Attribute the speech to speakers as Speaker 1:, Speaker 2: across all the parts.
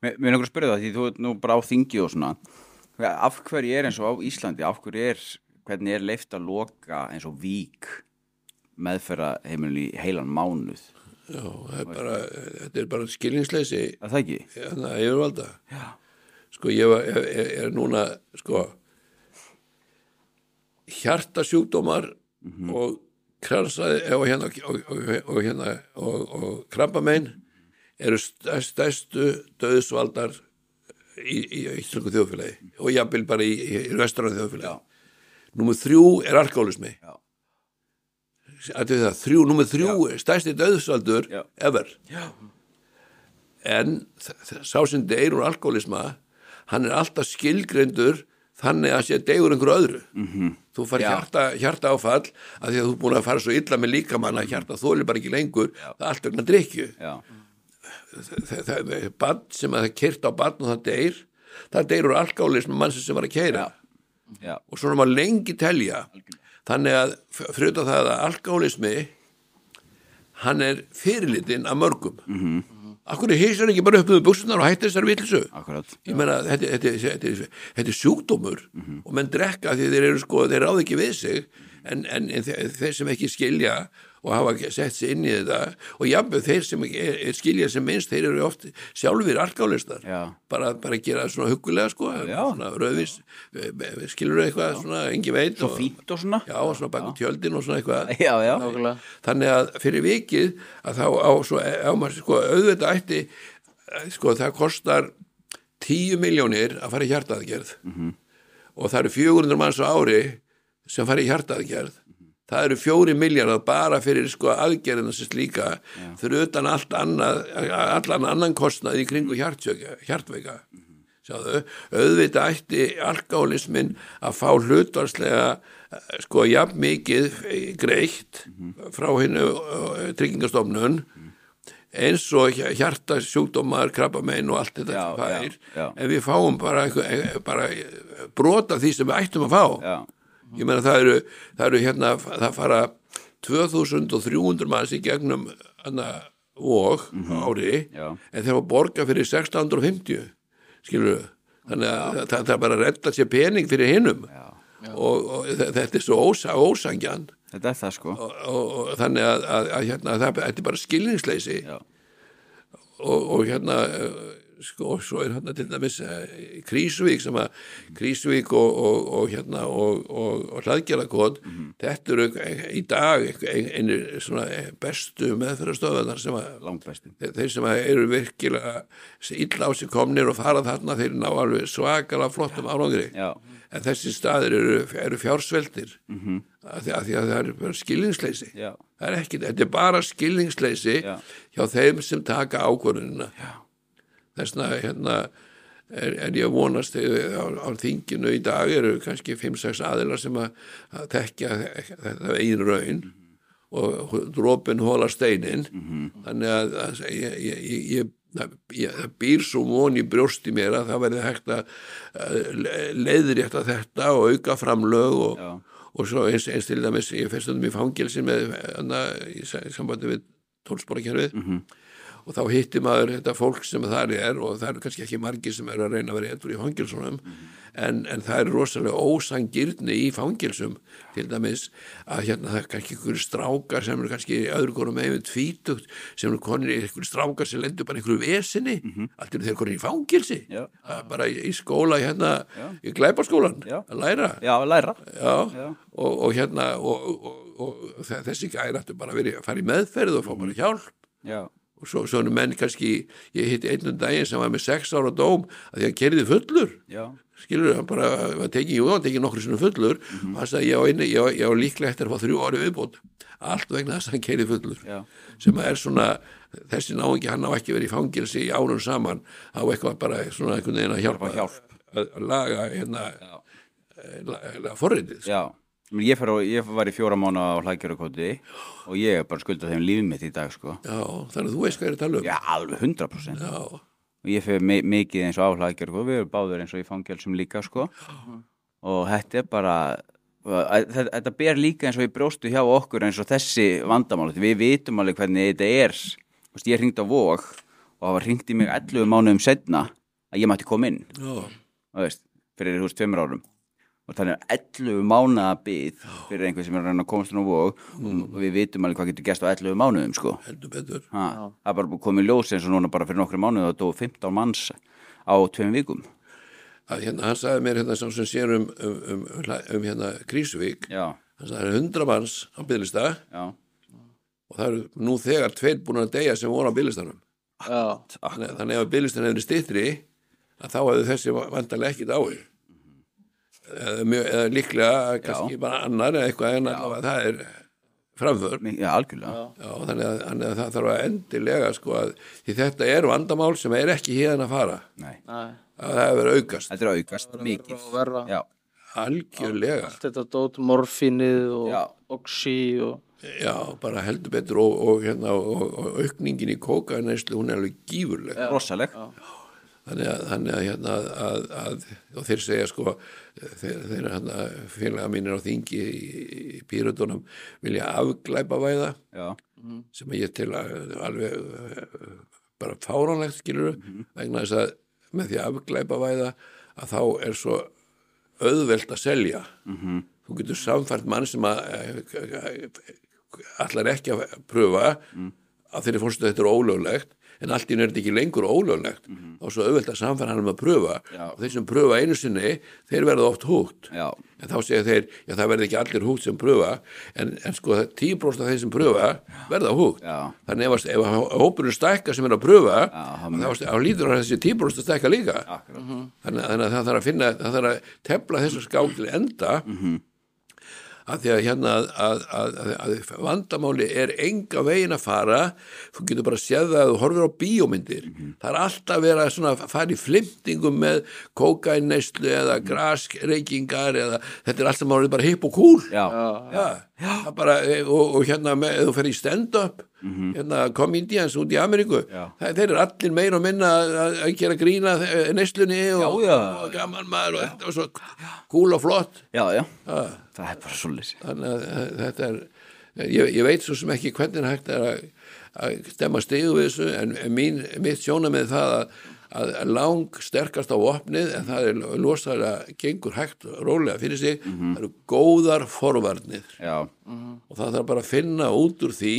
Speaker 1: Mér mér er einhver að spyrja það því þú ert nú bara á þingi og svona af hverju er eins og á Íslandi af hverju er, hvernig er leift að loka eins og vík meðferða heimilin í heilan mánuð
Speaker 2: Já, það er bara, þetta er bara skilningsleysi
Speaker 1: er það ekki?
Speaker 2: hérna, yfirvalda. Já. Sko, ég var, er, er- er núna, sko, hjartasjúkdómar og kransaði, og hérna, og, og, og, hérna, og, og krabbamein eru stærst- stærstu döðsvaldar í, í Íslandu þjóðfélagi og jafnvel bara í, í, í vestarnu þjóðfélagi. Já. Númer þrjú er alkoholismi.
Speaker 1: Já.
Speaker 2: Ættu við það, þrjú, númer þrjú er stærsti döðsvaldur
Speaker 1: Já.
Speaker 2: ever. Já. En þ- þ- sá sem deyr úr alkoholisma, hann er alltaf skilgrendur þannig að sé deygur einhverju öðru. -hmm. Þú fari
Speaker 1: Já.
Speaker 2: hjarta, hjarta áfall að því að þú er búin að fara svo illa með líkamann að hjarta þóli bara ekki lengur, það er allt vegna drikju.
Speaker 1: Já,
Speaker 2: Það- það- það- Barn sem að það kyrt á barn og það deyr, það deyr úr alkoholisma mannsins sem var að keira. Já
Speaker 1: já,
Speaker 2: og svona maður lengi telja þannig að fruta það að alkoholismi hann er fyrirlitinn af mörgum mm -hmm. akkur hýsar ekki bara upp með buksunar og hættir þessar vitlisu
Speaker 1: akkurat
Speaker 2: ég meina þetta, þetta, þetta, þetta, þetta er sjúkdómur
Speaker 1: Mhm.
Speaker 2: og menn drekka því þeir eru sko þeir ráð ekki við sig en, en, en þe- þeir sem ekki skilja og hafa sett sig inn í þetta og jafnveg þeir sem ekki- er, er skilja sem minnst þeir eru oft sjálfur alkoholistar
Speaker 1: Já.
Speaker 2: bara, bara gera það svona hugulega sko
Speaker 1: Já.
Speaker 2: svona rauðvís e, skilur eitthvað svona engi veit
Speaker 1: Svo fínt og svona
Speaker 2: Já, og svona bakum tjöldin og svona eitthvað.
Speaker 1: Já, já.
Speaker 3: Nákvæmlega.
Speaker 2: Þannig að fyrir vikið að þá á svo, á maður sko, auðvitað ætti, eh, sko, það kostar 10 miljónir að fara í hjartaðgerð -hmm. og það eru 400 manns á ári sem fara í hjartaðgerð. Það eru fjóri miljardar bara fyrir sko aðgerðina sem slíka fyrir utan allt annað, allan annan kostnað í kringu hjartjöka, hjartveika. Sjáðu, auðvitað ætti alkoholismin að fá hlutvarslega eh, sko jafn mikið eh, greitt frá hennu tryggingastofnun eins og hja- hjartasjúkdómar, krabbamein og allt þetta
Speaker 1: Já,
Speaker 2: sem fær,
Speaker 1: já, já.
Speaker 2: en við fáum bara, einhver- eh, bara brota því sem við ættum að fá.
Speaker 1: Já,
Speaker 2: Ég meina það eru, það eru hérna, það fara 2300 manns í gegnum hana, og ári
Speaker 1: Já.
Speaker 2: en þeir var borga fyrir 1650 skilur við þannig að það, það er bara að redda sér pening fyrir hinnum og, og þe- þetta er svo ósa, ósangjan
Speaker 1: þetta er það sko
Speaker 2: og, og, og þannig að, að, að hérna, það, þetta er bara skilningsleysi
Speaker 1: Já,
Speaker 2: og, og hérna eh, sko, og svo er hérna til dæmis eh, Krísuvík sem að Krísuvík og, og, og hérna og, og, og hlaðgerðakot
Speaker 1: Mhm.
Speaker 2: þetta eru e, í dag einu svona bestu meðferðastöðunar sem að
Speaker 1: langbesti
Speaker 2: Þe- þeir sem að eru virkilega illa á sig komnir og fara þarna þeir ná alveg svakalega flottum árangri
Speaker 1: Já.
Speaker 2: en þessi staðir eru, eru fjársveldir mm -hmm. að, því- að því að það er bara skilningsleysi
Speaker 1: Mhm. Já.
Speaker 2: það er ekki, þetta er bara skilningsleysi
Speaker 1: Já.
Speaker 2: hjá þeim sem taka ákvörðunina þessna hérna er, er ég að vonast þegar á, á þinginu í dag eru kannski 5-6 aðilar sem að, að tekja þetta eigin raun og drópin hóla steinin þannig að, að ég, ég, ég, ég Það ég- það býr svo von í brjósti mér að það verði hægt að leiðrétta þetta og auka framlög og,
Speaker 1: Já.
Speaker 2: og svo eins, eins til dæmis ég fyrst um í fangelsi með hana, í sa- í sambandi við tólsporakerfið og þá hittir maður þetta fólk sem þar er og það eru kannski ekki margir sem eru að reyna að vera eitthvað í fangilsunum en, en það eru rosalega ósangirni í fangilsum til dæmis að hérna það er kannski einhverju strákar sem eru kannski í öðru konum með tvítugt sem eru konir í einhverju strákar sem lendur bara í einhverju vesinni allt eru þeir konir í fangilsi
Speaker 1: Mhm. Já.
Speaker 2: Það er bara í, í skóla hérna í glæpaskólan
Speaker 1: Já.
Speaker 2: að læra
Speaker 1: Já, læra
Speaker 2: Já, Og, og hérna og, og, og, og þe- þessi gærættu bara verið að fara í meðferð og fá bara hjálp
Speaker 1: Já,
Speaker 2: og svo, svo eru menn kannski ég hitti einnum daginn sem var með sex ára dóm að því hann kerði fullur
Speaker 1: já,
Speaker 2: skilur hann bara, hann tekið, jú, hann tekið nokkru sinni fullur
Speaker 1: Mhm.
Speaker 2: og hann sagði, já, inni, já, já, líklega eftir að fá þrjú ári viðbót allt vegna þess að hann kerði fullur
Speaker 1: Já.
Speaker 2: sem að er svona, þessi náingi hann á ekki verið í fangilsi í árun saman á eitthvað bara svona einhvern veginn að hjálpa
Speaker 1: Bara hjálp.
Speaker 2: að að laga hérna eh, la- la- forritið sko.
Speaker 1: já Ég meina, Ég, fer og, ég var í fjóra mánu á hlækjörukoti og ég er bara skuldað þeim lífið mitt í dag sko
Speaker 2: já, þannig að þú veist hvað ég er að tala um
Speaker 1: Já, alveg 100%
Speaker 2: já,
Speaker 1: og ég fyrir mi mikið eins og áhlaðgjör og við erum báður eins og í fangelsum líka sko. og þetta er bara þetta, þetta ber líka eins og í brjóstu hjá okkur eins og þessi vandamál við vitum alveg hvernig þetta er Vist, ég hringd á vók og hafa hringt í mig 11 mánuðum setna að ég mætti koma inn
Speaker 2: já,
Speaker 1: þú veist, fyrir hús tveimur árum og þannig er 11 mánaða byð fyrir einhver sem er að reyna að komast inn á vog og við vitum alveg hvað getur gæst á 11 mánuðum sko
Speaker 2: heldur betur
Speaker 1: ha, það er bara komið ljós eins og núna bara fyrir nokkru mánuð og dó 15 manns á tveim vikum
Speaker 2: að hérna, hann sagði mér hérna sá sem sér um, um, um, um, um hérna Krísuvík
Speaker 1: já,
Speaker 2: hann sagði það eru hundra manns á bygglista
Speaker 1: já,
Speaker 2: og það eru nú þegar tveir búin að deyja sem voru á bygglistanum
Speaker 3: já,
Speaker 2: þannig, þannig ef bygglistan hefur stittri að þá hefur þessi vantarlega ekki dáið eða, mjög, eða líklega kannski bara annar eða eitthvað en allavega það er framför
Speaker 1: mi- já algjörlega
Speaker 2: Já, þannig að, þannig að það þarf að endilega sko að því þetta er vandamál sem er ekki hérna að fara
Speaker 1: Nei.
Speaker 3: nei,
Speaker 2: að það hefur aukast
Speaker 1: þetta er aukast mikið
Speaker 3: og verra.
Speaker 1: já,
Speaker 2: algjörlega
Speaker 3: allt þetta dót, morfínið
Speaker 1: Já.
Speaker 3: og oxí og
Speaker 2: já, bara heldur betur og, og, hérna, og, og aukningin í kókaneyslu hún er alveg gífurleg
Speaker 1: rosaleg
Speaker 2: þannig að, þannig að, hérna, að, að og þeir segja sko þeir, þeir hérna, félaga mínir á þingi í, í pýrötunum vilja afglæpa væða
Speaker 1: já,
Speaker 2: sem ég til að alveg eh, bara fáránlegt skilur
Speaker 1: Mhm.
Speaker 2: vegna þess að með því að afglæpa væða að þá er svo auðvelt að selja
Speaker 1: Mhm.
Speaker 2: -hmm. þú getur samfært mann sem að eh, allar ekki að pröfa
Speaker 1: Mhm.
Speaker 2: mm. að þeirri fórstu þetta er ólöglegt en allt í nörd ekki lengur ólöglegt mm -hmm. og svo auðvelt að samfæra hann um að pröfa
Speaker 1: Mhm. Já.
Speaker 2: og þeir sem pröfa einu sinni þeir verða oft húgt
Speaker 1: já,
Speaker 2: En þá segja þeir, já það verði ekki allir húgt sem pröfa, en, en sko 10% af þeir sem pröfa verða húgt.
Speaker 1: Já.
Speaker 2: Þannig ef, að- ef að hópurinn stækka sem er að pröfa,
Speaker 1: hann-
Speaker 2: þá, þá lítur að þessi 10% að stækka líka.
Speaker 1: akkurat
Speaker 2: Þannig, að- þannig að það þarf að finna, það þarf að tefla þessar skák til enda, að því að hérna að, að, að, að, að vandamáli er enga vegin að fara, þú getur bara séð það að þú horfir á bíómyndir. Það er alltaf verið að svona fara í flimtingum með kókainneislu eða graskreikingar eða þetta er alltaf málið bara hipp og kúl.
Speaker 1: já,
Speaker 3: já,
Speaker 2: Já, það bara, e, og, og hérna með, ef þú fer í stand-up hérna comedians út í Ameríku
Speaker 1: Mhm. Já.
Speaker 2: það, þeir eru allir meira og minna að- að að gera grína neslunni og,
Speaker 1: Já, já.
Speaker 2: og gaman maður og þetta var svo kúl og flott
Speaker 1: já, já það er bara svolítið
Speaker 2: þannig að eh, þetta er eh, ég, ég veit svo sem ekki hvernig hægt er að, að stemma stigu við þessu en mín, mitt sjóna með það að, að lang sterkast á opnið en það er losalega gengur hægt og rólega fyrir sig
Speaker 1: Mhm.
Speaker 2: það eru góðar forvarnir
Speaker 1: já,
Speaker 2: og það þarf bara að finna út úr því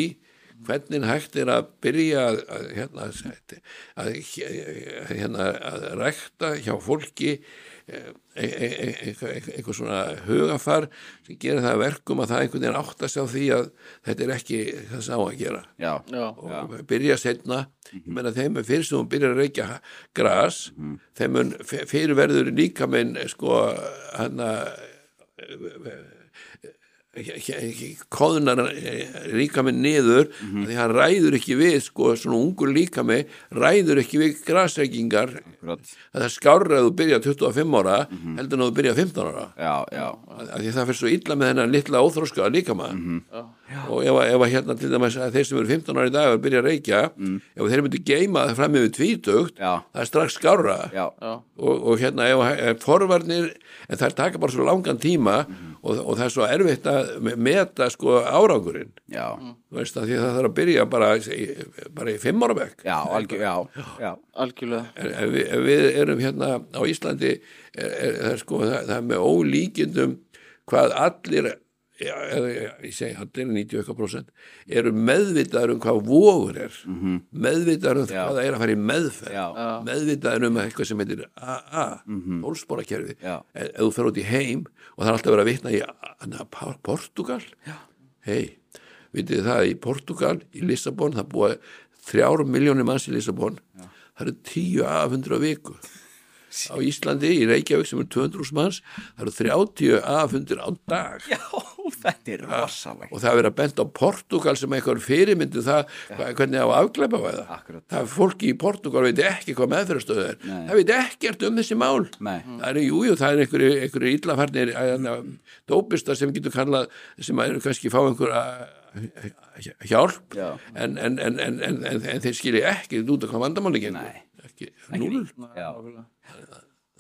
Speaker 2: hvernig hægt er að byrja að, að, hérna, að, að, hérna, að rekta hjá fólki eh, e- e- e- eitthvað eitthvað svona hugafar sem gerir það að verkum að það einhvern veginn átta sig á því að þetta er ekki það sá að gera
Speaker 1: já,
Speaker 3: já,
Speaker 2: og byrja setna ég meina þeim er fyrst sem hún byrjar að reykja gras, þeim mun f- fyrir verður líka minn sko eh, hann að kóðunar líkami eh, niður því hann ræður ekki við sko svona ungur líkami ræður ekki við grasreikingar
Speaker 1: akkurat
Speaker 2: það er skárra að þú byrja 25 ára heldur en að þú byrja 15 ára
Speaker 1: já, já,
Speaker 2: að að því það fyrir svo illa með hennar litla óþróska líkama
Speaker 1: Mhm.
Speaker 3: Já.
Speaker 2: og ef, að- ef að hérna til dæmis að þeir sem eru 15 ára í dag að byrja að reykja ef þeir myndu geima það fram yfir tvítugt
Speaker 1: Mhm. Já.
Speaker 2: það er strax skárra
Speaker 1: já,
Speaker 3: já,
Speaker 2: og, og hérna ef, að- ef forvarnir en það taka bara svo langan tíma
Speaker 1: Mhm.
Speaker 2: og, og það er svo erfitt að me- meta sko árangurinn
Speaker 1: já,
Speaker 2: Þú veist, að því að það þarf að byrja bara, í- bara í fimm ára bekk
Speaker 1: já, algjör, Mhm. já, já,
Speaker 3: algjörlega,
Speaker 2: En ef við, ef við erum hérna á Íslandi er, er, er sko, það, það er með ólíkindum hvað allir ja, er, ég segi allir 90% eru meðvitaður um hvað vofur er -hmm. meðvitaður um hvað það er að fara í meðferð
Speaker 1: Já. Mhm.
Speaker 2: meðvitaður um eitthvað sem heitir AA, tólsporakerfi
Speaker 1: Já.
Speaker 2: en ef þú fer út í heim og það er alltaf verið að vitna í hérna, hana, Pa- Portugal hei, vitið þið það í Portugal, í Lissabon það búa þrjár miljónir manns í Lissabon það eru tíu af hundra viku á Íslandi í Reykjavík sem er 200 manns það eru 30 af hundra á dag
Speaker 1: já, þetta er rosaleg
Speaker 2: og það er verið að benda á Portugal sem eitthvað fyrirmyndu það hva- hvernig á að afglæpa á það
Speaker 1: Akkurat.
Speaker 2: það er fólki í Portugal veit ekki hvað meðferðastöðu er
Speaker 1: Nei.
Speaker 2: það veit ekkert um þessi mál
Speaker 1: Nei.
Speaker 2: það eru, jú, jú, það er einhverju, einhverju illafarnir eh, dópistar sem getur kallað sem að eru kannski fá einhverja hjálp
Speaker 1: Já.
Speaker 2: en, en, en, en, en, en, en þeir skilja ekki út af hvað vandamáli gengur ekki, núlur
Speaker 1: já,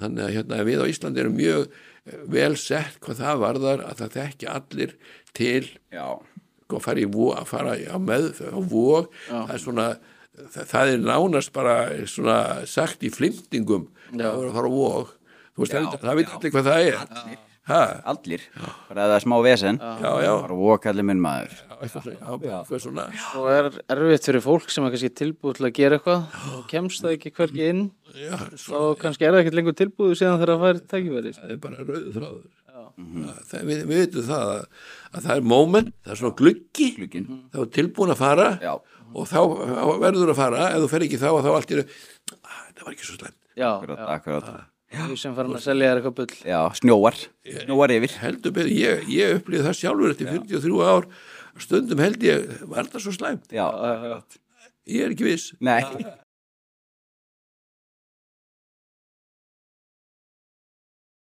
Speaker 2: þannig að hérna, við á Íslandi erum mjög eh, vel sett hvað það varðar að það þekki allir til
Speaker 1: já,
Speaker 2: sko, fara í vó, að fara í- á með á vó, það er svona það, það er nánast bara svona sagt í flimtingum
Speaker 3: Já.
Speaker 2: það voru að fara á vóg þú veist,
Speaker 1: Já,
Speaker 2: það, það veit allir hvað það er ha,
Speaker 1: allir, bara ef það er smá vesen
Speaker 2: já, já,
Speaker 1: bara vokallið minn maður
Speaker 2: já, eitthvað svona, já, eitthvað svona.
Speaker 3: og er erfitt fyrir fólk sem er kannski tilbúið til að gera eitthvað og kemst það ekki hvergi inn
Speaker 2: Já, svo,
Speaker 3: og kannski er það ekkert lengur tilbúið síðan þegar það fær tækifæri sko.
Speaker 2: það er bara rauðu þráður Mm-hmm. Já, það, við, við veitum það að, að það er moment, það er svona gluggi
Speaker 1: Glugginn.
Speaker 2: þá er tilbúin að fara
Speaker 1: Já.
Speaker 2: og þá þá verður að fara ef þú fer ekki þá og þá allt er það var ekki svo slæmt
Speaker 3: já,
Speaker 1: akkurat,
Speaker 3: já,
Speaker 1: akkurat.
Speaker 3: þú sem farin að selja þér eitthvað bull
Speaker 1: já, snjóar, snjóar yfir
Speaker 2: heldur betur, ég, ég upplýði það sjálfur eftir 43 ár, stundum held ég var það svo slæmt,
Speaker 1: já,
Speaker 3: Já, já, já.
Speaker 2: ég er ekki viss
Speaker 1: nei,